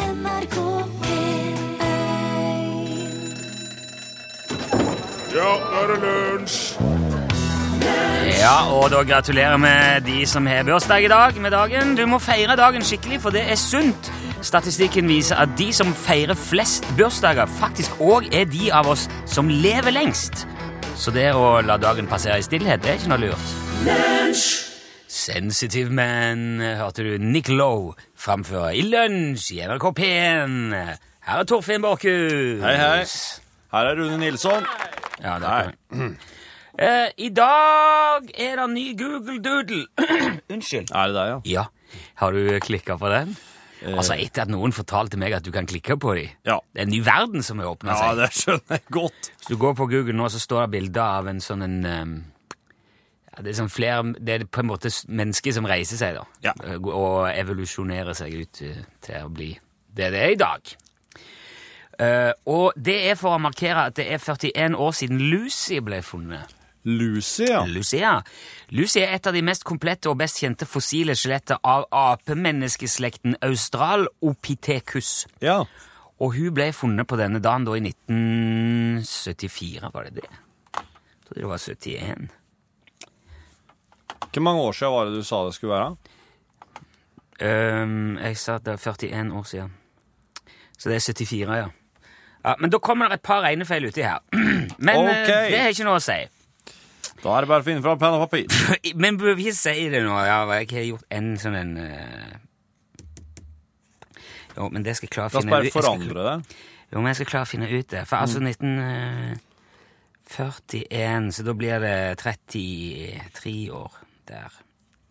NRK P1 Ja, nå er det lunsj! Ja, og da gratulerer med de som har bursdag i dag med dagen. Du må feire dagen skikkelig, for det er sunt. Statistikken viser at de som feirer flest bursdager, faktisk òg er de av oss som lever lengst. Så det å la dagen passere i stillhet, det er ikke noe lurt. Sensitive Man eh, hørte du Nick Lowe framføre i lunsj i NRK P1. Her er Torfinn Borchhus. Hei, hei. Her er Rune Nilsson. Ja, det er det. Eh, I dag er det ny Google Doodle. Unnskyld. Er det deg, ja? Ja, har du klikka på den? Eh. Altså, Etter at noen fortalte meg at du kan klikke på dem. Ja. Det er en ny verden som har åpna Ja, seg. det skjønner jeg godt. Hvis du går på Google nå, så står det bilder av en sånn en ehm, ja, det, er sånn flere, det er på en måte s- mennesker som reiser seg, da. Ja. Eh, Og evolusjonerer seg ut eh, til å bli det det er i dag. Eh, og det er for å markere at det er 41 år siden Lucy ble funnet. Lucy, ja. Lucia. Lucia er et av de mest komplette og best kjente fossile skjeletter av apemenneskeslekten Australopithecus. Ja, Og hun ble funnet på denne dagen da i 1974, var det det? Jeg trodde det var 71. Hvor mange år siden var det du sa det skulle være? Øhm, jeg sa at det er 41 år siden. Så det er 74, ja. ja men da kommer det et par regnefeil uti her. Men eh, Ok. det har ikke noe å si. Da er det bare å finne fram penn og papir. Men bør vi si det nå? Ja, jeg har gjort en sånn en eh, Jo, men det skal jeg klare å La oss finne bare ut. Jeg skal, forandre det. jo, men jeg skal klare å finne ut det. For altså 1941, så da blir det 33 år der.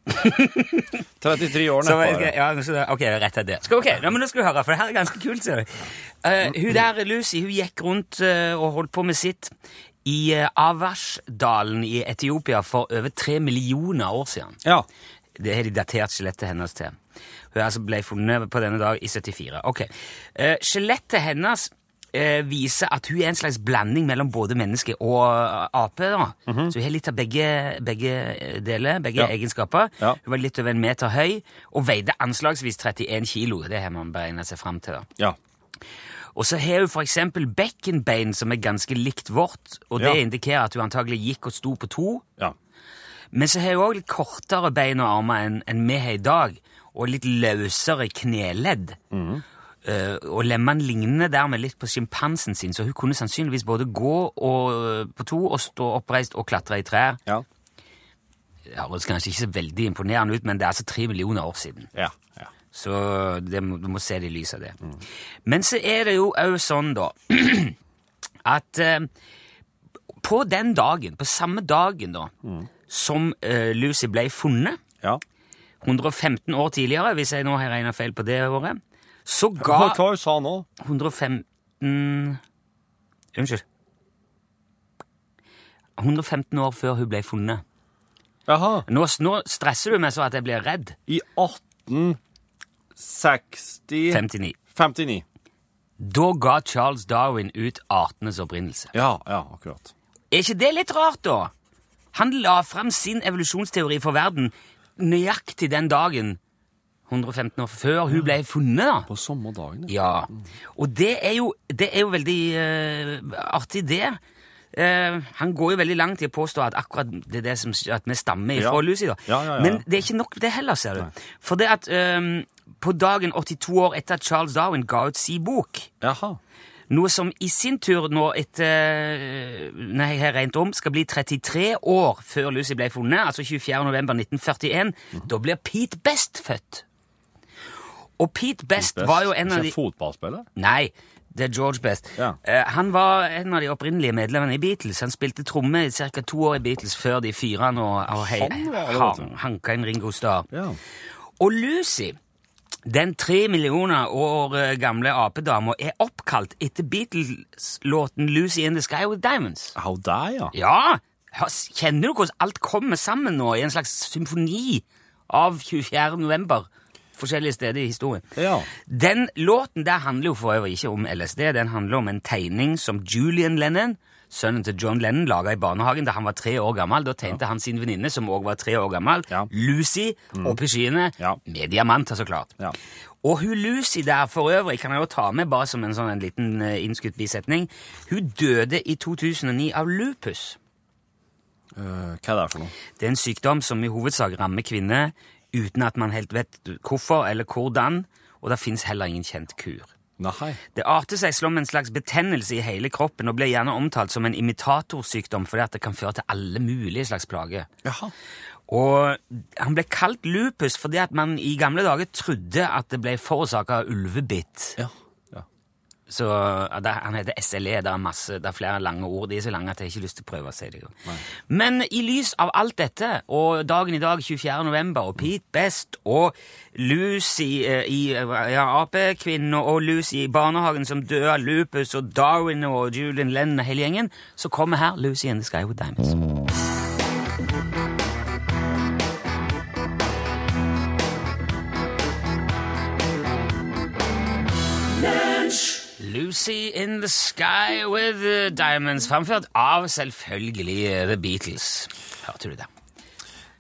33 år Så jeg nedpå. skal, her. ja, så, da- ok, rett etter det. Skal, ok, ja, men nå skal du høre, for det her er ganske kult, ser du. Eh, hun der, Lucy, hun gikk rundt eh, og holdt på med sitt i uh, Avarsdalen i Etiopia for over tre millioner år siden. Ja. Det har de datert skjelettet hennes til. Hun altså ble funnet på denne dag i 74. Ok. Eh, skjelettet hennes eh, viser at hun er en slags blanding mellom både menneske og eh, ape. Da. Så hun har litt av begge, begge deler, begge Mhm. Ja. egenskaper. Ja. Hun var litt over en meter høy og veide anslagsvis 31 kilo. Det har man beregna seg fram til. da. ja. Og så har hun for eksempel bekkenbein som er ganske likt vårt, og det Ja. indikerer at hun antagelig gikk og sto på to. Ja. Men så har hun òg litt kortere bein og armer enn enn vi har i dag, og litt løsere kneledd. Eh, og lemmene ligner dermed litt på sjimpansen sin, så hun kunne sannsynligvis både gå og, eh, på to og stå oppreist og klatre i trær. Ja. Det høres kanskje ikke så veldig imponerende ut, men det er altså tre millioner år siden. Ja. ja. Så det, må- du må se det i lys av det. Men så er det jo òg sånn, da, at eh, på den dagen, på samme dagen da, som eh, Lucy ble funnet, ja. 115 år tidligere, hvis jeg nå har regna feil på det året, så Hva ga hva hun sa nå? 115 Unnskyld. 115 år før hun ble funnet. Jaha. Nå, nå stresser du meg så at jeg blir redd. I 1860 59. 59. Da ga Charles Darwin ut artenes opprinnelse. Ja, ja, akkurat. Er ikke det litt rart, da? Han la fram sin evolusjonsteori for verden nøyaktig den dagen, 115 år før hun ble funnet. da. På samme dagen, ja. Ja, Og det er jo, det er jo veldig eh, artig, det. Eh, han går jo veldig langt i å påstå at akkurat det er det som, at vi stammer ifra Ja. Lucy. da. Ja, ja, ja, ja. Men det er ikke nok det heller, ser du. For det at eh, på dagen 82 år etter at Charles Darwin ga ut sin bok, Jaha. noe som i sin tur nå etter Nei, jeg har regnet om, skal bli 33 år før Lucy ble funnet, altså 24. november 1941. Mhm. Da blir Pete Best født. Og Pete Best, var jo en av de Ikke fotballspiller? Nei, det er George Best. Ja. Eh, han var en av de opprinnelige medlemmene i Beatles. Han spilte tromme i ca. to år i Beatles før de fyrte han og, og hei, Han var det, vet du. han, hanka inn Ringo Starr. Ja. Og Lucy, den tre millioner år eh, gamle apedama, er oppkalt etter Beatles-låten Lucy in the Sky with Diamonds. Au, der, ja. Ja! hørs- Kjenner du hvordan alt kommer sammen nå i en slags symfoni av 24. november? Forskjellige steder i historien. Ja. Den låten der handler jo for øvrig ikke om LSD, den handler om en tegning som Julian Lennon, sønnen til John Lennon, laga i barnehagen da han var tre år gammel. Da tegnte han sin venninne, som òg var tre år gammel, Ja. Mm. Lucy, opp i skyene, Ja. med diamanter, så klart. Ja. Og hun Lucy der for øvrig kan jeg jo ta med bare som en sånn en liten eh, innskutt bisetning. Hun døde i 2009 av lupus. Eh, hva er det for noe? Det er en sykdom som i hovedsak rammer kvinner uten at man helt vet hvorfor eller hvordan, og det fins heller ingen kjent kur. Nei. Det arter seg som en slags betennelse i hele kroppen og blir gjerne omtalt som en imitatorsykdom fordi at det kan føre til alle mulige slags plager. Jaha. Og han ble kalt lupus fordi at man i gamle dager trodde at det ble forårsaka av ulvebitt. Ja. ja. Så ja, det, Han heter SLE. Det er, masse, det er flere lange ord. De er så lange at jeg ikke har lyst til å prøve å si det. Men i lys av alt dette, og dagen i dag, 24. november, og Pete Best og Lucy eh, i eh, ja, Ap-kvinner og Lucy i barnehagen som dør av lupus, og Darwin og Julian Lennon og hele gjengen, så kommer her Lucy in the Sky with Diamonds. Lucy in the Sky with eh, Diamonds, framført av selvfølgelig eh, The Beatles. Hørte du det?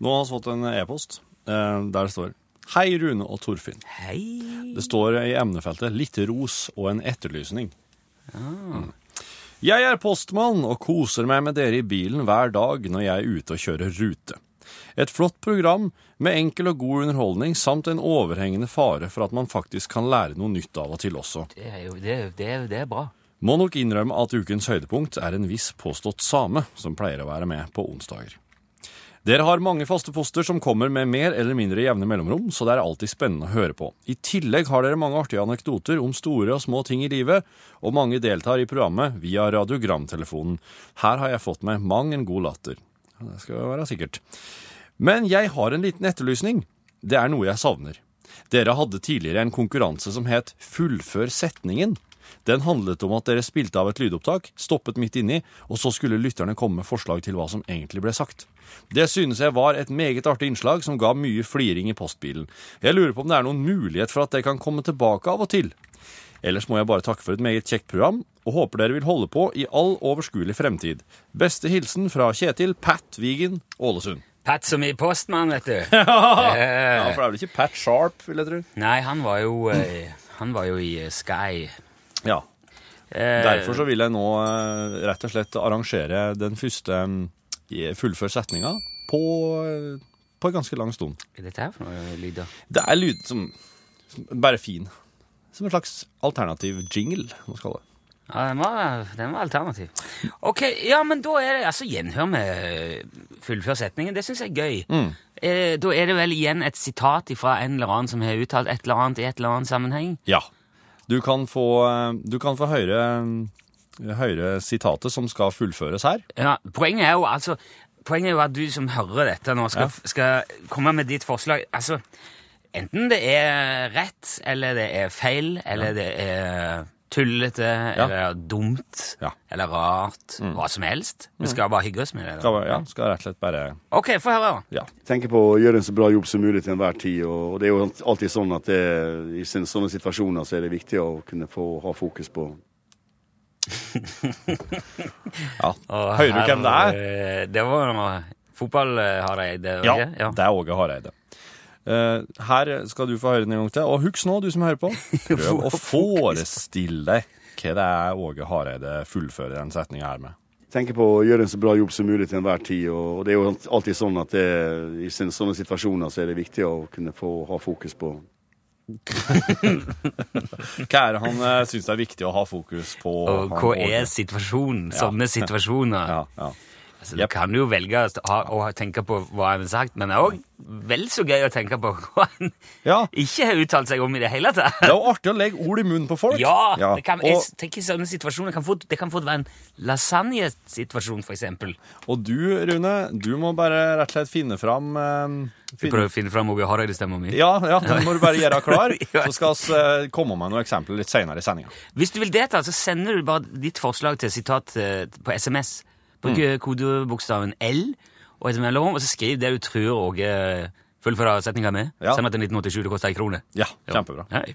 Nå har vi fått en e-post eh, der det står Hei, Rune og Torfinn. Hei. Det står i emnefeltet litt ros og en etterlysning. Mm. Jeg er postmann og koser meg med dere i bilen hver dag når jeg er ute og kjører rute. Et flott program med enkel og god underholdning samt en overhengende fare for at man faktisk kan lære noe nytt av og til også. Det er jo det, er- det, er- det er bra. Må nok innrømme at ukens høydepunkt er en viss påstått same som pleier å være med på onsdager. Dere har mange faste poster som kommer med mer eller mindre jevne mellomrom, så det er alltid spennende å høre på. I tillegg har dere mange artige anekdoter om store og små ting i livet, og mange deltar i programmet via radiogramtelefonen. Her har jeg fått meg mang en god latter. Ja, Det skal være sikkert. Men jeg har en liten etterlysning. Det er noe jeg savner. Dere hadde tidligere en konkurranse som het Fullfør setningen. Den handlet om at dere spilte av et lydopptak, stoppet midt inni, og så skulle lytterne komme med forslag til hva som egentlig ble sagt. Det synes jeg var et meget artig innslag som ga mye fliring i postbilen. Jeg lurer på om det er noen mulighet for at det kan komme tilbake av og til. Ellers må jeg bare takke for et meget kjekt program, og håper dere vil holde på i all overskuelig fremtid. Beste hilsen fra Kjetil Pat Vigen, Ålesund. Pat som i postmann, vet du. Ja, for det er vel ikke Pat Sharp, vil jeg tro. Nei, han var jo, eh, han var jo i eh, Sky. Ja, Eh, Derfor så vil jeg nå eh, rett og slett arrangere den første mm, i- fullfør setninga på, eh, på en ganske lang stund. Hva er dette her for noe lyder? Det er lyd som, som bare fin. Som en slags alternativ jingle. Nå skal det. Ja, den var, den var alternativ. Ok, ja, men da er det altså gjenhør med eh, fullfør setningen. Det syns jeg er gøy. Mm. Eh, da er det vel igjen et sitat fra en eller annen som har uttalt et eller annet i et eller annet sammenheng. Ja. Du kan få, eh, du kan få høre, eh, høre sitatet som skal fullføres her. Ja, poenget er jo altså Poenget er jo at du som hører dette nå, skal, skal komme med ditt forslag. Altså, enten det er rett, eller det er feil, eller det er tullete, eller dumt, Ja. Mm. eller rart. Hva som helst. Vi skal bare hygge oss med det. da. Skal, ja, skal rett og slett bare Ok, få høre. da. Ja. tenker på å gjøre en så bra jobb som mulig til enhver tid. Og og det er jo alltid sånn at det, i sin- sånne situasjoner så er det viktig å kunne få ha fokus på ja. Og Hører du her, hvem det er? eh, Det var noe fotball eh, har jeg det, Ja, ikke? det er Åge Hareide. Eh, her skal du få høre den en gang til. Og husk nå, du som hører på, prøv å forestille deg hva det er Åge Hareide fullfører den setninga her med. tenker på å gjøre en så bra jobb som mulig til enhver tid. Og og det er jo alltid sånn at det, i sin- sånne situasjoner så er det viktig å kunne få ha fokus på Hva er det han uh, syns det er viktig å ha fokus på? Og han hva Åge? er situasjonen? Sånne situasjoner. ja, ja. Altså, du Jepp. kan jo velge å ha- å tenke på hva han har sagt, men det er òg vel så gøy å tenke på hva han Ja. ikke har uttalt seg om i det hele tatt. Det er jo artig å legge ord i munnen på folk. Ja! Det kan, jeg og, tenker sånne situasjoner kan fort, det kan fort være en lasagnesituasjon, for eksempel. og du, Rune, du må bare rett og slett finne fram eh, Vi finne- prøver å finne fram Åge Hareide-stemma mi. Ja, ja, den må du bare gjøre klar. Ja. Så skal vi eh, komme med noen eksempler litt seinere i sendinga. Hvis du vil delta, så sender du bare ditt forslag til sitat eh, på SMS. Bruk Mm. eh, kodebokstaven L og et mellomrom, og så skriv det du tror Åge fullfører setninga med. Ja. Send meg til 1987, det koster ei krone. Ja, kjempebra. Hei.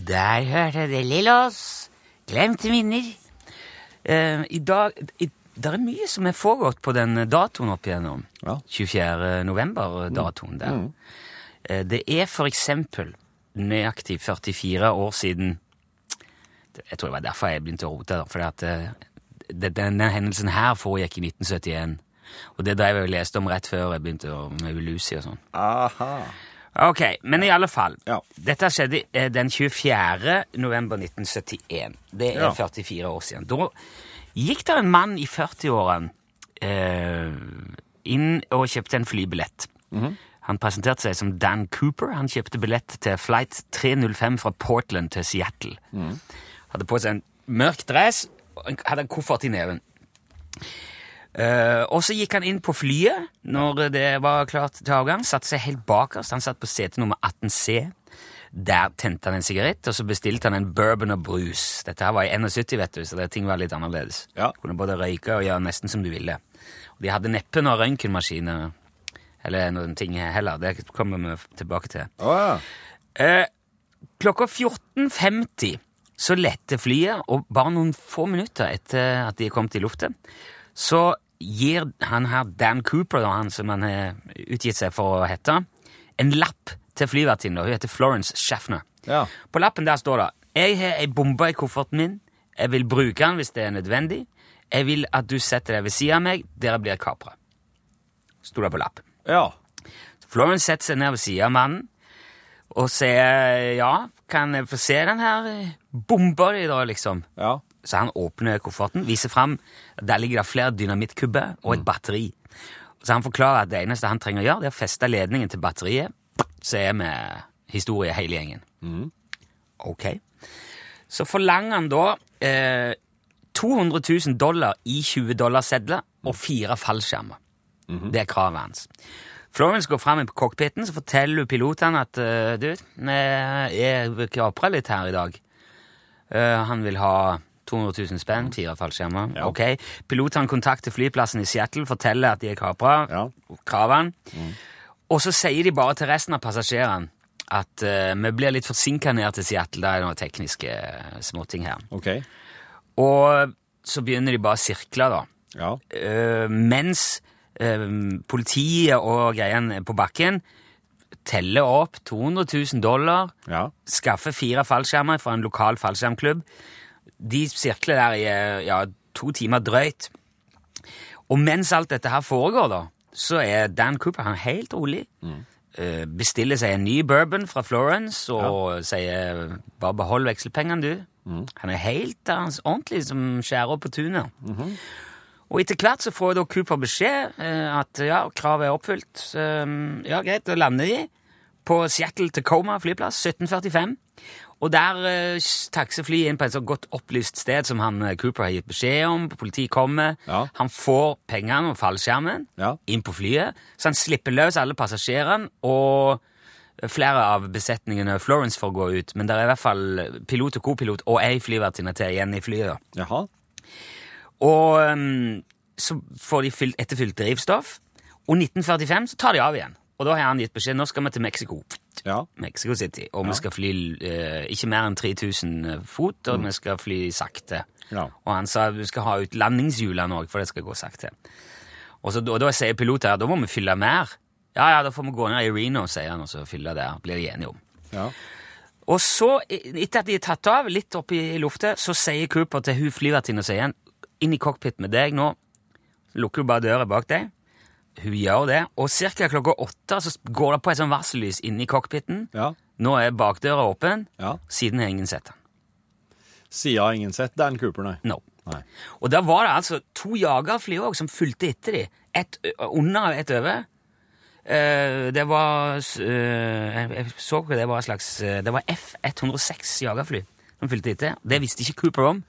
Der hørte det Lillås. Glemte minner. Eh, I dag i, Det er mye som er foregått på den datoen opp igjennom. Ja. Mm. 24. november-datoen der. Eh, Det er for eksempel nøyaktig 44 år siden Jeg tror det var derfor jeg begynte å rote. da, Fordi at eh, det- denne hendelsen her foregikk i 1971. Og det drev jeg og leste om rett før jeg begynte å, med Lucy og sånn. Aha. Ok, men i alle fall. Ja. Dette skjedde eh, den 24. november 1971. Det er Ja. 44 år siden. Da gikk det en mann i 40-årene eh, inn og kjøpte en flybillett. Mhm. Han presenterte seg som Dan Cooper. Han kjøpte billett til flight 305 fra Portland til Seattle. Hadde på seg en mørk dress og en- hadde en koffert i neven. Eh, og så gikk han inn på flyet når det var klart til avgang. Satte seg helt bakerst. Han satt på sete nummer 18C. Der tente han en sigarett, og så bestilte han en bourbon og brus. Dette her var i 71, vet du, så det, ting var litt annerledes. Ja. Du kunne både røyke og gjøre nesten som du ville. Og de hadde neppe noen røntgenmaskiner eller noen ting heller. Det kommer vi tilbake til. Å ja. Eh, klokka 14.50 så lette flyet, og bare noen få minutter etter at de kom til luften, så gir han her Dan Cooper, da, han som han har utgitt seg for å hete, en lapp til flyvertinnen. Hun heter Florence Schaffner. Ja. På lappen der står det Jeg har ei bombe i kofferten min. Jeg vil bruke den hvis det er nødvendig. Jeg vil at du setter deg ved siden av meg. Dere blir kapra. Sto det på lappen. ja. Florence setter seg ned ved siden av mannen og sier ja, kan jeg få se den her eh, bomba di, da, liksom? Ja. Så han åpner kofferten, viser fram. Der ligger det flere dynamittkubber og et batteri. Så han forklarer at det eneste han trenger å gjøre, det er å feste ledningen til batteriet, så er vi historie hele gjengen. Ok. Så forlanger han da eh, 200 000 dollar i 20-dollarsedler og fire fallskjermer. Mhm. Det er kravet hans. Florence går fram i cockpiten så forteller hun pilotene at eh, du, vi er kapra litt her i dag. Eh, han vil ha 200 000 spenn, fire fallskjermer. Mhm. Ja. Ok. Pilotene kontakter flyplassen i Seattle, forteller at de er kapra. Ja. Mhm. Kravene. Og så sier de bare til resten av passasjerene at eh, vi blir litt forsinka ned til Seattle. Det er noen tekniske eh, småting her. Ok. Og så begynner de bare å sirkle, da. Ja. Eh, mens eh, politiet og greiene på bakken teller opp 200 000 dollar, Ja. skaffer fire fallskjermer fra en lokal fallskjermklubb. De sirkler der i eh, ja, to timer drøyt. Og mens alt dette her foregår, da, så er Dan Cooper han er helt rolig. Eh, Bestiller seg en ny bourbon fra Florence og sier 'bare behold vekselpengene, du'. Han er helt eh, han er ordentlig som skjærer opp på tunet. Og etter hvert så får da Cooper beskjed eh, at ja, kravet er oppfylt. Så, um, ja, greit, da lander de på Seattle Tacoma flyplass 1745. Og der eh, s- taxer flyet inn på et så godt opplyst sted som han eh, Cooper har gitt beskjed om. Politiet kommer. Ja. Han får pengene og fallskjermen Ja. inn på flyet, så han slipper løs alle passasjerene. og... Flere av besetningene Florence får gå ut, men det er i hvert fall pilot og kopilot og ei flyvertinne til igjen i flyet. da. Jaha. Og um, så får de fylt, etterfylt drivstoff. Og 1945 så tar de av igjen. Og da har han gitt beskjed nå skal vi til Mexico. Ja. Mexico City. Og vi skal fly eh, ikke mer enn 3000 fot, og vi skal fly sakte. Ja. Og han sa vi skal ha ut landingshjulene òg, for det skal gå sakte. Og, så, og da sier piloten her da må vi fylle mer. Ja, ja, da får vi gå ned i Reno, sier han, og så fylle der. Blir de enige om. Ja. Og så, etter at de er tatt av, litt opp i luftet, så sier Cooper til hun flyvertinne og sier igjen, inn i cockpit med deg nå, lukker hun bare døra bak deg. Hun gjør det, og cirka klokka åtte så går det på et sånn varsellys inne i cockpiten. Ja. Nå er bakdøra åpen, Ja. siden har ingen sett den. Sida har ingen sett Dan Cooper, nei. No. Nei. Og da var det altså to jagerfly òg som fulgte etter de. Ett ø- under og ett over. Eh, det var s- eh, Jeg jeg så ikke det var en slags eh, Det var F-106 jagerfly som fulgte etter. Det visste ikke Cooper om.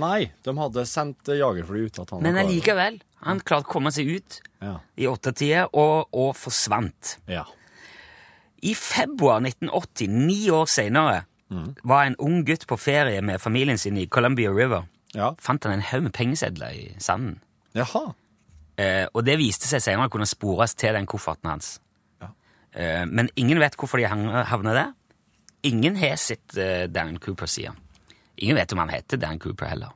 Nei, de hadde sendt eh, jagerfly ut at han Men var klar. allikevel. Han klarte å komme seg ut Ja. i åttetida og, og forsvant. Ja. I februar 1980, ni år seinere, var en ung gutt på ferie med familien sin i Columbia River. ja. Fant han en haug med pengesedler i sanden. Jaha. Eh, og det viste seg senere å kunne spores til den kofferten hans. Ja. Eh, men ingen vet hvorfor de hang- havna der. Ingen har sett eh, Dan Cooper siden. Ingen vet om han heter Dan Cooper heller.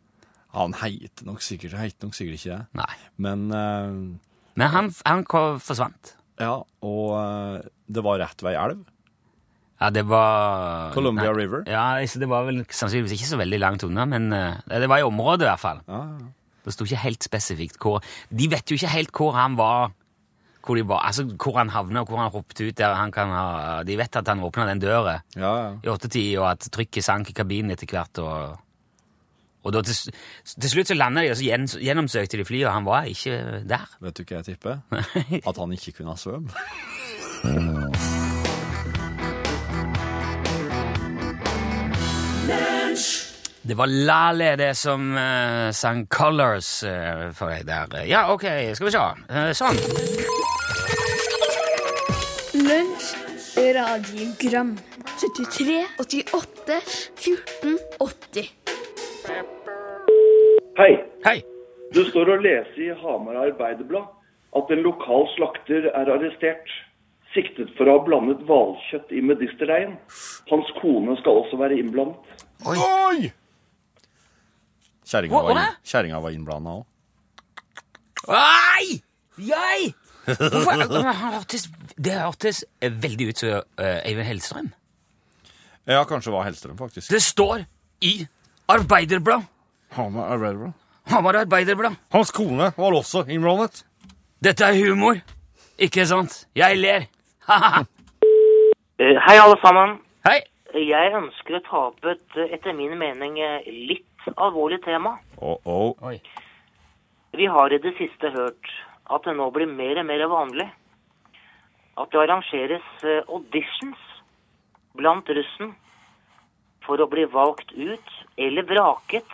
Han heiter nok sikkert, heiter nok sikkert ikke det. Nei. Men eh, Men han, han ko- forsvant. Ja, og eh, det var rett vei elv. Ja, det var Columbia River. Ja, altså, det var vel sannsynligvis ikke så veldig langt unna, men eh, det var i området i hvert fall. Det sto ikke helt spesifikt hvor De vet jo ikke helt hvor han var, hvor, de var, altså, hvor han havna, og hvor han hoppet ut der. Han kan ha, de vet at han åpna den døra Ja, i åttetid, og at trykket sank i kabinen etter hvert. og... Og da til, s- til slutt så landa de, og så gjen- gjennomsøkte de flyet, og han var ikke der. Vet du hva jeg tipper? At han ikke kunne ha svøm. Det var Lale det som eh, sang Colors eh, for deg der. Ja, ok, skal vi se. Eh, sånn. Lunsj, radiogram 73, 88, 14, 80 Hei, Hei. det står å lese i Hamar Arbeiderblad at en lokal slakter er arrestert. Siktet for å ha blandet hvalkjøtt i medisterdeig. Hans kone skal også være innblandet. Oi! Kjerringa Hva- var, hva? inn- kjerringa var innblanda òg. Oi! Jeg! Hvorfor? Han hørtes, det hørtes eh, veldig ut som eh, Eivind Hellstrøm. Ja, kanskje det var Hellstrøm, faktisk. Det står i Arbeiderblad. Hamar Arbeiderblad. Hamar Arbeiderblad. Hans kone var også innblandet. Dette er humor, ikke sant? Jeg ler. Ha-ha. Eh, Hei, alle sammen. Hei. Jeg ønsker å ta opp et, eh, etter min mening, eh, litt alvorlig tema. Å-å. Oi. Vi har i det siste hørt at det nå blir mer og mer vanlig at det arrangeres eh, auditions blant russen for å bli valgt ut eller vraket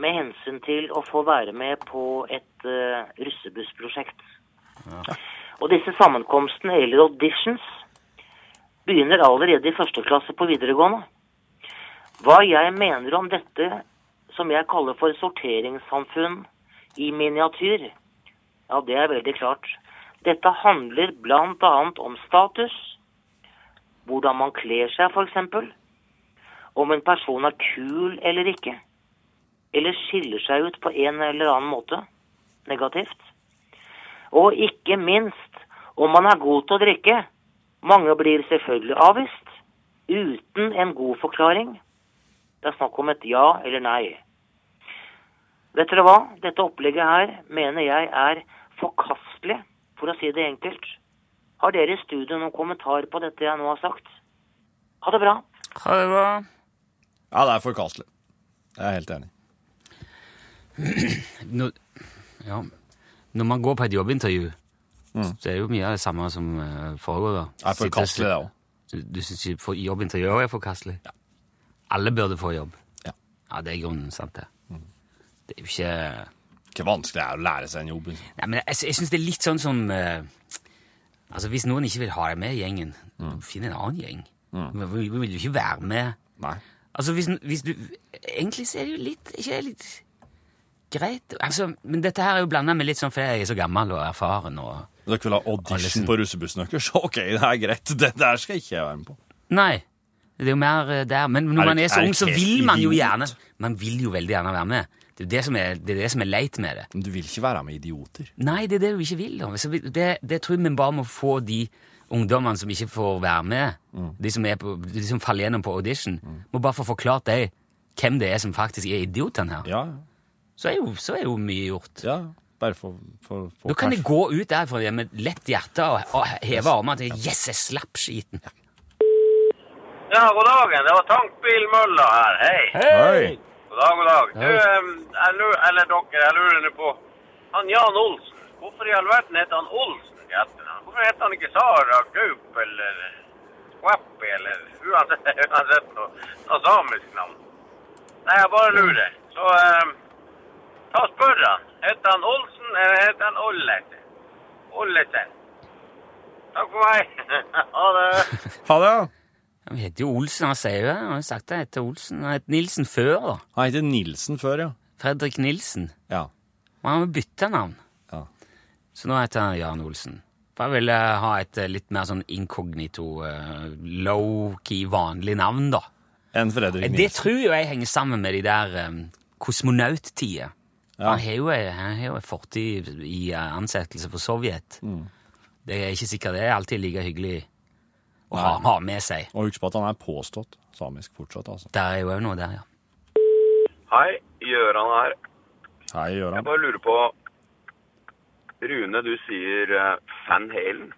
med hensyn til å få være med på et eh, russebussprosjekt. Og disse sammenkomstene, eller auditions, begynner allerede i første klasse på videregående. Hva jeg mener om dette som jeg kaller for sorteringssamfunn i miniatyr, ja, det er veldig klart. Dette handler bl.a. om status, hvordan man kler seg f.eks., om en person er kul eller ikke, eller skiller seg ut på en eller annen måte negativt. Og ikke minst om man er god til å drikke. Mange blir selvfølgelig avvist uten en god forklaring. Det er snakk om et ja eller nei. Vet dere hva? Dette opplegget her mener jeg er forkastelig, for å si det enkelt. Har dere i studio noen kommentar på dette jeg nå har sagt? Ha det bra. Ha det bra. Ja, det er forkastelig. Jeg er helt enig. Når, ja. Når man går på et jobbintervju, Mm. så er det jo mye av det samme som eh, foregår. da. Det er forkastelig, det òg. Du, du syns ikke for- jobbintervju også er forkastelig? Alle burde få jobb. Ja. Mm. Ja, det er grunnen, sant det. Det er jo ikke Hvor vanskelig det er å lære seg en jobb. liksom. Nei, men jeg, jeg syns det er litt sånn som eh, Altså, hvis noen ikke vil ha deg med i gjengen, Mm. finn en annen gjeng. Men Vi, vi vil jo ikke være med Nei. Altså, hvis, hvis du Egentlig så er det jo litt Ikke det litt greit altså, Men dette her er jo blanda med litt sånn fordi jeg er så gammel og erfaren og Dere vil ha audition på russebussen deres? Ok, det er greit. Det der skal ikke jeg være med på. Nei. Det er jo mer eh, der. Men Er når man det- er så er det ung, så helt vil man jo idiot? gjerne Man vil jo veldig gjerne være med. Det er jo det som er, det er, det som er leit med det. Men du vil ikke være med idioter. Nei, det er det du ikke vil. da. Så vi- Det, det tror jeg vi bare må få de ungdommene som ikke får være med, Mm. de, som er på, de som faller gjennom på audition, må bare få forklart dem hvem det er som faktisk er idiotene her. Ja, Så er jo, så er jo mye gjort. ja. Bare for, for, for Da kan jeg gå ut derfra igjen med lett hjerte og, og heve armene til Yes, jeg slapp skiten. Ja, god dagen. Det var tankbilmølla her. Hei. Hei! God dag, god dag. Du, Hei. em, jeg lurer, eller dere, jeg lurer nå på han Jan Olsen. Hvorfor i all verden heter han Olsen til etternavn? Hvorfor heter han ikke Sara Gaup eller Swappi eller uansett, uansett noe, noe samisk navn? Nei, jeg bare lurer. Så em, ta og spør han. Heter han Olsen eller heter han Ollete? Ollete. Takk for meg. ha det. Ha det! Han heter jo Olsen, han sier jo det. Han har jo sagt det heter Olsen. Han het Nilsen før, da. Han heter Nilsen før, ja. Fredrik Nilsen. Ja. Og han har jo bytta navn. Ja. Så nå heter han Jan Olsen. For jeg ville ha et eh, litt mer sånn inkognito, eh, low-key, vanlig navn, da. En Fredrik Det Nilsen. tror jo jeg henger sammen med de der um, kosmonauttider. Han har jo- han har jo en fortid i eh, ansettelse for eh, Sovjet. Det er ikke sikkert det er alltid like hyggelig å ha, ha med seg. Og husk på at han er påstått samisk fortsatt, altså. Der er jo òg noe der, ja. Hei, Gjøran her. Hei, Jeg Gøran. bare lurer på Rune, du sier eh, Van Halen.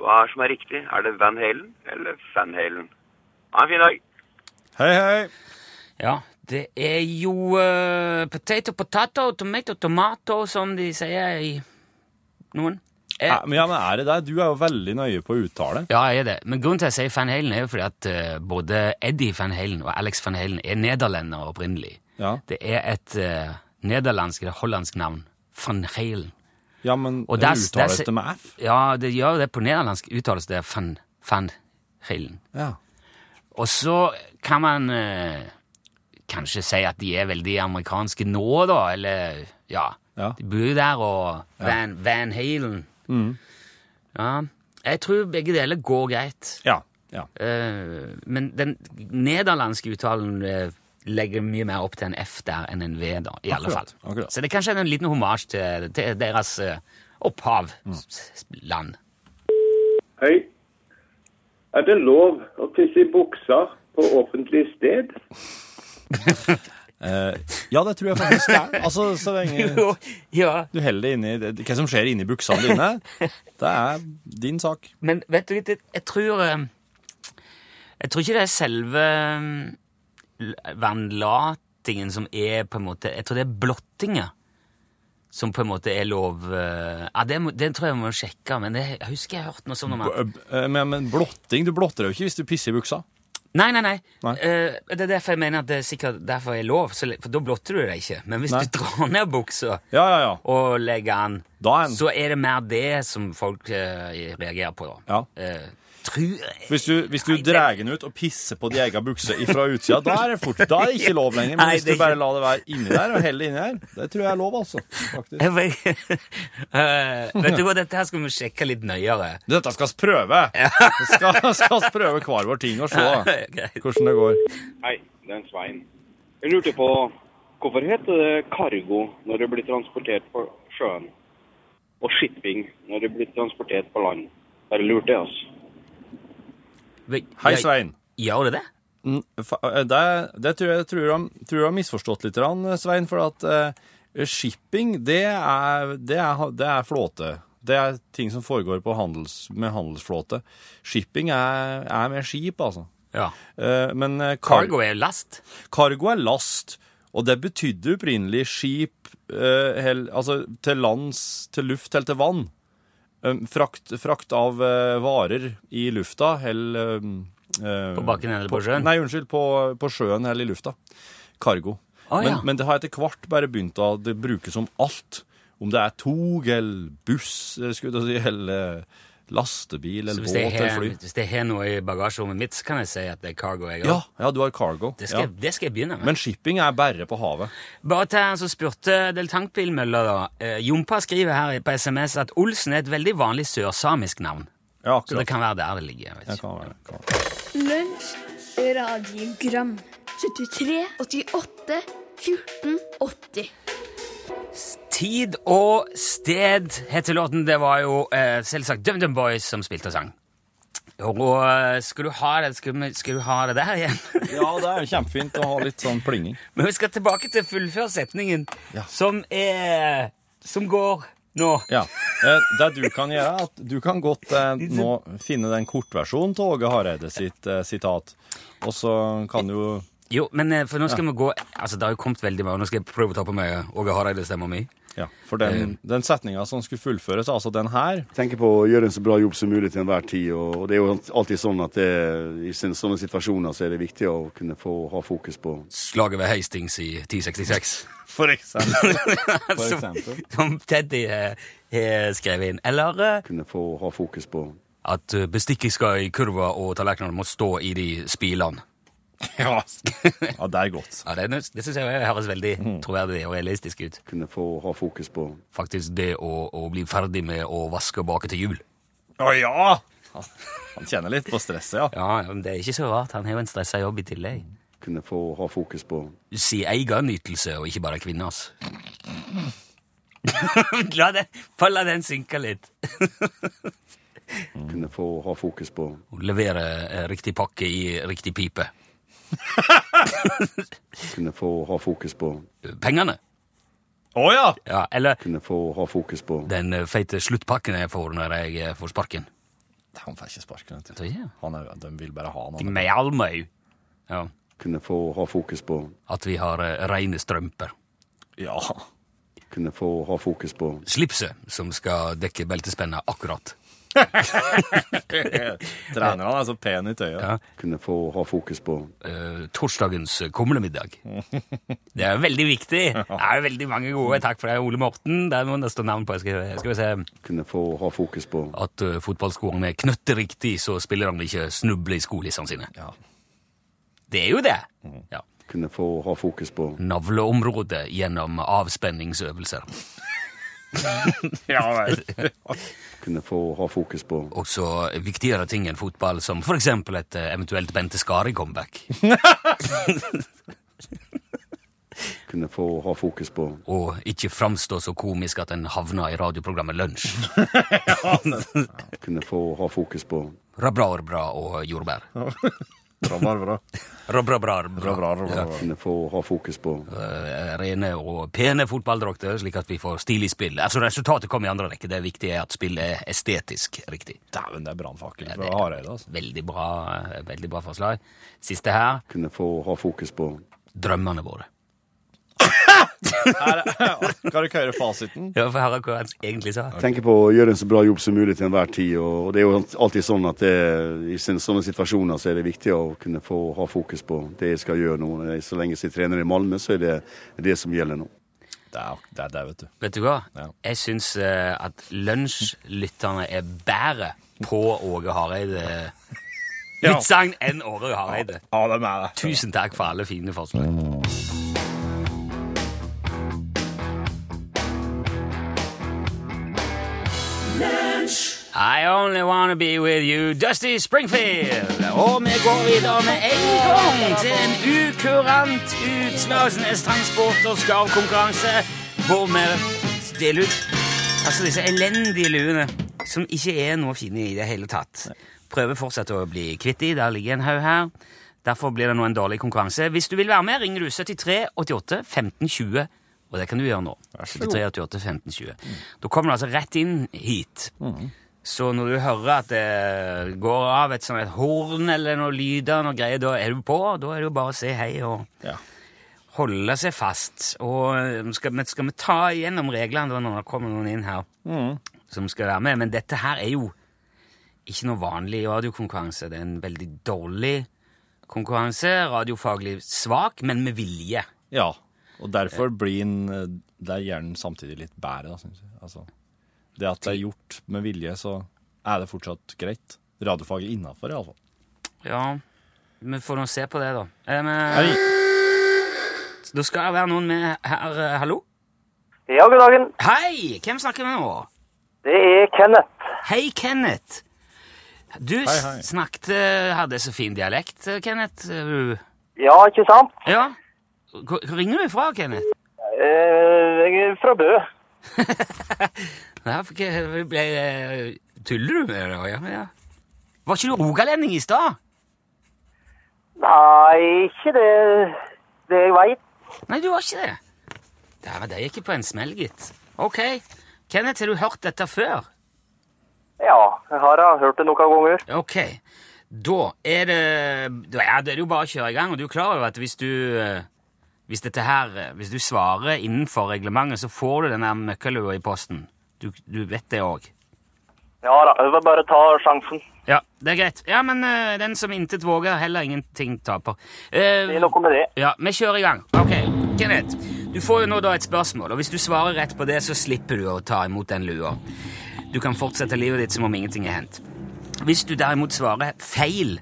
Hva er det som er riktig? Er det Van Halen eller Van Halen? Ha en fin dag. Hei, hei! Ja, det er jo eh, potato, potato, tomato, tomato, som de sier i noen. Eh, Ja, men, ja, men er det deg? Du er jo veldig nøye på å uttale. Ja, jeg er det. Men grunnen til at jeg sier Van Halen, er jo fordi at eh, både Eddie Van Halen og Alex Van Halen er nederlender opprinnelig. Ja, Det er et eh, nederlandsk eller hollandsk navn. Van Halen. ja men Og der- uttales der- det med F? Ja, det gjør det på nederlandsk uttales det Van, van Halen. Ja. Og så kan man eh, kanskje si at de er veldig amerikanske nå, da, eller ja. Ja. De bor jo der, og Van, van Halen. Mm. Ja. Jeg tror begge deler går greit. Ja. ja. Eh, men den nederlandske uttalen eh, legger mye mer opp til en F der enn en V, da, i alle fall. Akkurat, akkurat. Så det er kanskje en liten hommage til, til deres eh, opphavsland. Mm. Hei. Er det lov å tisse i buksa på offentlig sted? Eh, ja, det tror jeg faktisk det er. Altså, så lenge Jo, ja, du heller det inni det- Hva som skjer inni buksene dine, det er din sak. men vet du litt, jeg- jeg tror eh, Jeg tror ikke det er selve eh, l- vannlatingen som er på en måte Jeg tror det er blottinga som på en måte er lov eh, Ja, det, må- det tror jeg jeg må sjekke, men det, jeg husker jeg har hørt noe sånt om at B- eh, Men, men blotting Du blotter jo ikke hvis du pisser i buksa. Nei, nei, nei. Nei. Eh, det er derfor jeg mener at det er sikkert derfor er lov, så, le- for da blotter du deg ikke. Men hvis Nei. du drar ned buksa Ja, ja, ja. og legger den, Da er den- så er det mer det som folk eh, reagerer på. da. Ja. Eh, tror jeg Hvis du, hvis du Nei, det- drar den ut og pisser på de egga buksa ifra utsida, da er det fort, da er det ikke lov lenger. Men Nei, hvis det er du bare ikke- lar det være inni der og heller inni der, det tror jeg er lov, altså. Faktisk. Jeg vet- Eh, Vet du hva, dette her skal vi sjekke litt nøyere. Dette skal vi prøve. Vi skal, skal vi prøve hver vår ting og se Greit. hvordan det går. Hei, det er en Svein. Jeg lurte på hvorfor heter det kargo når det blir transportert på sjøen, og shipping når det blir transportert på land? Bare lurte jeg, altså. Vi- Hei, ja, Svein. Gjør det det? Mm, fa- Det, det tror jeg tror de, tror de har misforstått litt, grann, Svein. For at eh, shipping, det er, det, er, det er flåte. Det er ting som foregår på handels, med handelsflåte. Shipping er, er med skip, altså. Ja. Eh, men eh, kar Cargo er jo last. Cargo er last, og det betydde opprinnelig skip eh, hel, altså, til lands, til luft eller til vann. Um, frakt, frakt av eh, varer i lufta eller um, eh, På bakken eller på sjøen? Nei, unnskyld, på, på sjøen eller i lufta. Cargo. Å, men, Ah, ja. men det har etter hvert bare begynt å det brukes om alt. Om det er tog eller buss, eh, skulle jeg til å si, eller eh, lastebil Så eller hvis båt jeg, eller har, fly. hvis jeg har noe i bagasjerommet mitt, så kan jeg si at det er cargo. Jeg Ja, har. ja, du har cargo. Det, skal, ja. det skal jeg begynne med. Men shipping er bare på havet. Bare til han som spurte deltankbilmølla, da. Eh, Jompa skriver her på SMS at Olsen er et veldig vanlig sørsamisk navn. Ja, Så akkurat. det kan være der det ligger. jeg vet Jeg ikke. kan være, kan være. Lunsj, radiogram 73, 88, 14, 80 Tid og sted heter låten. Det var jo eh, selvsagt DumDum Boys som spilte og sang. Og eh, skulle du ha det, skulle, vi- skulle du ha det der igjen? Ja, det er jo kjempefint å ha litt sånn plinging. Men vi skal tilbake til fullfør setningen, som er Som går nå. Ja. Eh, Det du kan gjøre, er at du kan godt eh, nå finne den kortversjonen til Åge Hareide sitt eh, sitat. Og så kan du jo Jo, men eh, for nå skal vi gå Altså, det har jo kommet veldig mye. Nå skal jeg prøve å ta på meg eh, Åge Hareide-stemma mi. Ja, for den, den setninga som skulle fullføres, altså den her tenker på å gjøre en så bra jobb som mulig til enhver tid. Og det er jo alltid sånn at det, i sin- sånne situasjoner så er det viktig å kunne få ha fokus på slaget ved Hastings i 1066. For eksempel. For som, eksempel. som Teddy eh, har skrevet inn. Eller eh, kunne få ha fokus på at eh, bestikket skal i kurva, og tallerkenene må stå i de spilene. Ja. altså. ja, det er godt. Ja, det, er nøs- det syns jeg høres veldig troverdig og realistisk ut. kunne få ha fokus på Faktisk det å, å bli ferdig med å vaske og bake til jul. Å ja! Han kjenner litt på stresset, ja. Ja, men Det er ikke så rart. Han har jo en stressa jobb i tillegg. kunne få ha fokus på Si egen nytelse, og ikke bare kvinners. La den, bare la den synke litt. Kunne få ha fokus på Levere eh, riktig pakke i riktig pipe. Kunne få ha fokus på Pengene. Å ja! Ja, eller Kunne få ha fokus på den eh, feite sluttpakken jeg får når jeg eh, får sparken. Han får ikke sparken. vet du. Så, ja. Han er, de vil bare ha han. han. Ting med almøy. Ja. Kunne få ha fokus på At vi har eh, reine strømper. Ja. Kunne få ha fokus på Slipset som skal dekke beltespennet akkurat. Treneren er så pen i tøyet. Ja. Kunne få ha fokus på eh, torsdagens kumlemiddag. Det er veldig viktig. Det er veldig mange gode. Takk for det, Ole Morten. Det er noen det står navn på. Jeg skal, jeg skal vi se Kunne få ha fokus på at uh, fotballskoene er knøtteriktig, så spiller de ikke snuble i skolissene sine. Ja. Det er jo det. Ja. Kunne få ha fokus på Navleområdet gjennom avspenningsøvelser. Kunne få ha fokus på Også viktigere ting enn fotball, som for eksempel et eh, eventuelt Bente Skari-comeback. Kunne få ha fokus på Og ikke framstå så komisk at en havna i radioprogrammet Lunsj. Kunne få ha fokus på Rabarbra og jordbær. Bra, bra, bra. Rabrabra. Bra, bra, bra, bra. Kunne få ha fokus på eh, rene og pene fotballdrakter, slik at vi får stil i spill. Altså Resultatet kommer i andre rekke. Det viktige er at spillet er estetisk riktig. Dæven, det er brannfakkel fra Hareide, altså. Veldig bra, eh, veldig bra forslag. Siste her Kunne få ha fokus på drømmene våre. Kan du ikke høre fasiten? Ja, for her er hva han egentlig sa. Tenke på å gjøre en så bra jobb som mulig til enhver tid. Og det er jo alltid sånn at det, i sin- sånne situasjoner så er det viktig å kunne få ha fokus på det jeg skal gjøre nå. Så lenge jeg trener i Malmö, så er det det som gjelder nå. Det er det, er det vet du. Vet du hva? Ja. Jeg syns eh, at lunsjlytterne er bedre på Åge Hareide. Ja. Utsagn enn Åge Hareide. Ja, det er med det. Tusen takk for alle fine forslag. I only wanna be with you, Dusty Springfield. Og vi går videre med en gang til en ukurant Utslagsnes transport- og skarvkonkurranse, hvor vi deler ut altså disse elendige luene, som ikke er noe fine i det hele tatt. Prøver fortsatt å bli kvitt de, der ligger en haug her. Derfor blir det nå en dårlig konkurranse. Hvis du vil være med, ringer du 73 88 15 20, og det kan du gjøre nå. 73 88 15 20. Da kommer du altså rett inn hit. Så når du hører at det går av et sånt et horn eller noe lyder, noe greier, da er du på. Da er det jo bare å si hei og Ja. holde seg fast. Og eh, skal, vi- skal vi ta igjennom reglene da når det kommer noen inn her som skal være med? Men dette her er jo ikke noe vanlig radiokonkurranse. Det er en veldig dårlig konkurranse. Radiofaglig svak, men med vilje. Ja, og derfor blir en, eh, det er hjernen samtidig litt bedre, da, synes jeg. Altså, det at det er gjort med vilje, så er det fortsatt greit. Radiofaget innenfor, i alle fall. Ja, vi får nå se på det, da. Eh, Hei. men, eh, da skal det være noen med her. eh, Hallo? Ja, god dagen. Hei! Hvem snakker vi nå? Det er Kenneth. Hei, Kenneth. Du Hei, hei. s- snakket eh, Hadde så fin dialekt, eh, Kenneth. Eh, du- Ja, ikke sant? Ja. Hvor hvor ringer du ifra, Kenneth? Eh, jeg er fra Bø. Ja, for hva- ble, eh, tuller du med det? Ja, ja. Var ikke du rogalending i stad? Nei, ikke det, det jeg veit. Nei, du var ikke det. Dæven, det gikk jeg på en smell, gitt. Ok. Kenneth, har du hørt dette før? Ja, jeg har da hørt det noen ganger. Ok. Da er det Ja, det er jo bare å kjøre i gang, og du er klar over at hvis du eh, hvis dette her, eh, hvis du svarer innenfor reglementet, så får du den der møkkalua i posten. Du, du vet det òg. Ja da, jeg vil bare ta sjansen. Ja, det er greit. Ja, men eh, den som intet våger, heller ingenting taper. Eh, Det er noe med det. ja, vi kjører i gang. Ok, Kenneth, du får jo nå da et spørsmål, og hvis du svarer rett på det, så slipper du å ta imot den lua. Du kan fortsette livet ditt som om ingenting er hendt. Hvis du derimot svarer feil,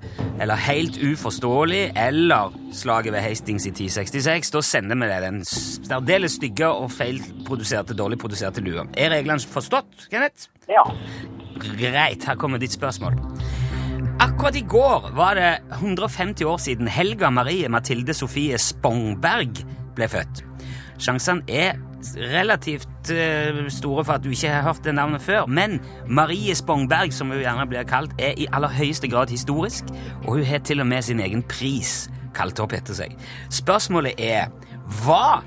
eller helt uforståelig, eller slaget ved Hastings i 1066, da sender vi deg den særdeles stygge og feilproduserte, dårlig produserte lua. Er reglene forstått, Kenneth? Ja. Greit, her kommer ditt spørsmål. Akkurat i går var det 150 år siden Helga Marie Mathilde Sofie Spongberg ble født. Sjansene er relativt eh, store for at du ikke har hørt det navnet før, men Marie Spongberg, som hun gjerne blir kalt, er i aller høyeste grad historisk, og hun har til og med sin egen pris kalt opp etter seg. Spørsmålet er hva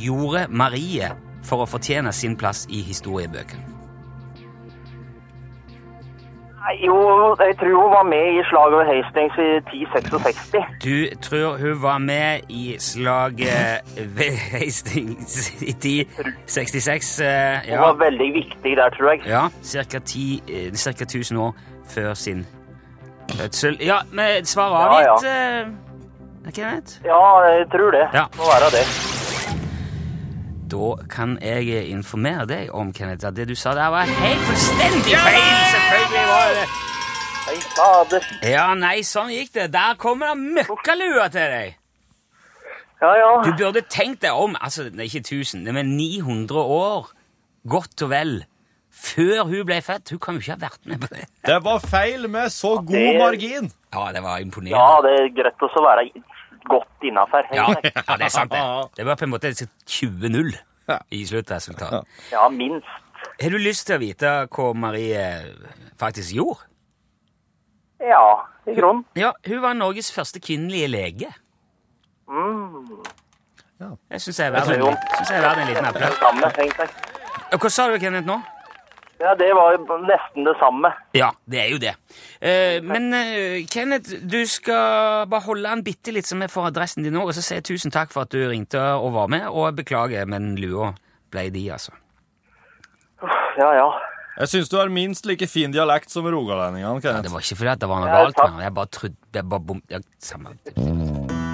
gjorde Marie for å fortjene sin plass i historiebøkene? Nei, Jo, jeg tror hun var med i slaget ved Hastings i 1066. Du tror hun var med i slaget ved Hastings i 1066? eh, Hun var veldig viktig der, tror jeg. Ja, cirka, ti, eh, cirka 1000 år før sin fødsel. Ja, men svaret avgitt, eh, er Kenneth? Ja, jeg tror det. Ja. Må være det. Da kan jeg eh, informere deg om, Kenneth, at det du sa der var helt fullstendig feil! Selvfølgelig var det det. Nei, fader. Ja, nei, sånn gikk det. Der kommer det møkkalua til deg! Ja, ja. Du burde tenkt deg om, altså, det er ikke 1000, det er med 900 år, godt og vel, før hun ble født. Hun kan jo ikke ha vært med på det. Det var feil med så god det- margin! Ja, det var Ja, imponerende. det er greit også å være godt innafor. Ja, ja, det er sant det. Det var på en måte 20-0 i sluttresultatet. ja, minst. Har du lyst til å vite hva Marie faktisk gjorde? Ja, i grunnen. Ja, hun var Norges første kvinnelige lege. Mm. Jeg syns jeg er verdt en, Ja, det er synes jeg er verdt en liten applaus. Samme, tenkte jeg. Hva sa du, Kenneth, nå? Ja, det var jo nesten det samme. Ja, det er jo det. Eh, men eh, Kenneth, du skal bare holde han bitte litt som jeg får adressen din nå, og så sier jeg tusen takk for at du ringte og var med, og beklager, men lua ble de, altså. Ja, ja. Jeg syns du har minst like fin dialekt som rogalendingene. Ja, det Kenneth. var ikke fordi at det var noe Ja, galt med takk. han. Jeg bare trodde Jeg bare bom... Ja, samme.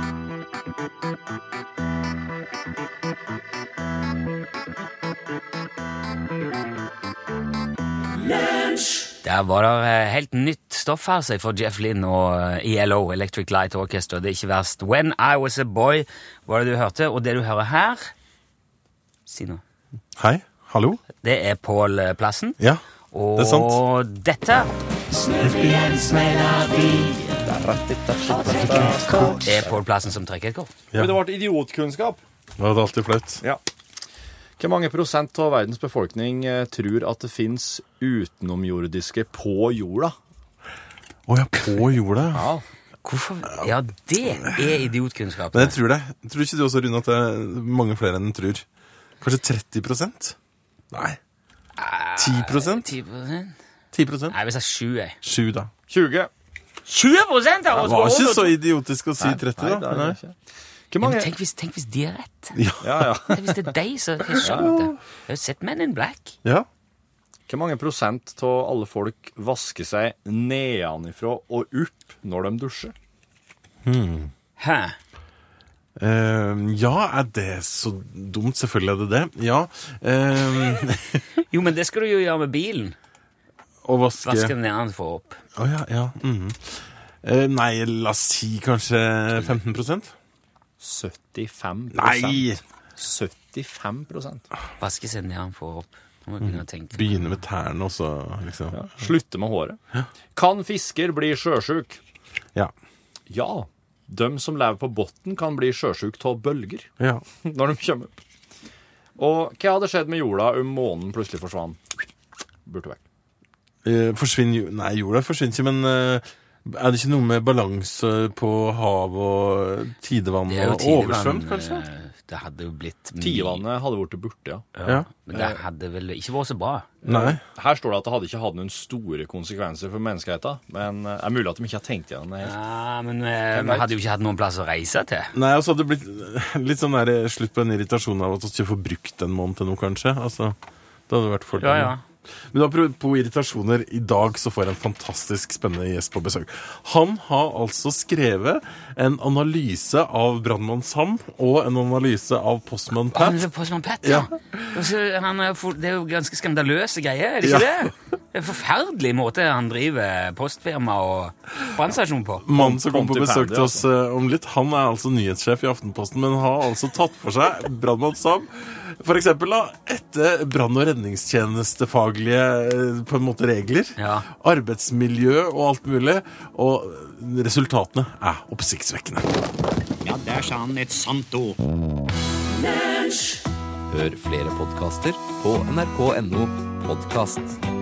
Der var det eh, helt nytt stoff her, seg for Jeff Lynn og eh, ELO, Electric Light Orchestra. Det er ikke verst. When I Was A Boy var det du hørte, og det du hører her Si noe. Hei. Hallo. Det er Pål eh, Plassen. Ja. Og Det er sant. dette Det er Pål Plassen som trekker et kort. Ja. Men det ble idiotkunnskap. Det hadde alltid flaut. Ja. Hvor mange prosent av verdens befolkning eh, tror at det fins utenomjordiske på jorda? Å ja, på jorda. Ja. Hvorfor Ja, det er idiotkunnskap. Men jeg tror det. Tror ikke du også, Rune, at det er mange flere enn du tror? Kanskje 30 Nei. 10 10 10 Nei, hvis det er 7, jeg. 7, da. 20. 20 av oss Det var går ikke under! så idiotisk å si 30, Nei, da. det er Nei. det ikke. Hvor Ja, men mange tenk, hvis, tenk hvis de er rett. ja, ja. Tenk hvis det er de som har skjønt det. Jeg har jo sett Men in Black. Ja. Hvor mange prosent av alle folk vasker seg nedenifra og opp når de dusjer? Hæ? Ehm, ja, er det så dumt? Selvfølgelig er det det. Ja. ehm, Jo, men det skal du jo gjøre med bilen. Å vaske Vaske den ned for opp. Å ja, ja. mhm. Eh, nei, la oss si kanskje 15 75 Nei! 75 prosent. Vaske seg ned for opp. Nå må jeg begynne å tenke. Begynne med tærne, og så liksom Ja. Slutte med håret. Kan fisker bli sjøsjuk? ja. Ja. De som lever på bunnen, kan bli sjøsjuk av bølger ja. når de kommer opp. Og hva hadde skjedd med jorda om månen plutselig forsvant? Burde vekk. Eh, forsvinner jo- Nei, jorda forsvinner ikke, men eh, er det ikke noe med balanse på hav og tidevann Det er jo og tidevann. oversvømt, kanskje? eh, Det hadde jo blitt mye- Tidevannet hadde blitt borte, ja. Ja. Men det hadde vel ikke vært så bra. Nei. Her står det at det hadde ikke hatt noen store konsekvenser for menneskeheten, men det er mulig at de ikke har tenkt igjen det helt. Ja, men eh, vi hadde jo ikke hatt noen plass å reise til. Nei, og så hadde det blitt litt sånn der, eh, slutt på den irritasjonen av at vi ikke får brukt en måned til noe, kanskje. Altså, det hadde vært fordelen. Men apropos irritasjoner, i dag så får jeg en fantastisk spennende gjest på besøk. Han har altså skrevet en analyse av Brannmann Sam og en analyse av Postmann Han Pat. Ah, er Postmann Pat, ja. Og så er han, eh, for- det er jo ganske skandaløse greier, er det ikke Ja. det? Det er en forferdelig måte han driver postfirma og brannstasjon på. Mannen som kom på Ponty besøk Pandy, til oss eh, om litt, han er altså nyhetssjef i Aftenposten, men har altså tatt for seg Brannmann Sam. For eksempel da, etter brann- og redningstjenestefaglige eh, på en måte regler, Ja. arbeidsmiljø og alt mulig, og resultatene er oppsiktsvekkende. Ja, der sa han et sant ord. Hør flere podkaster på nrk.no podkast.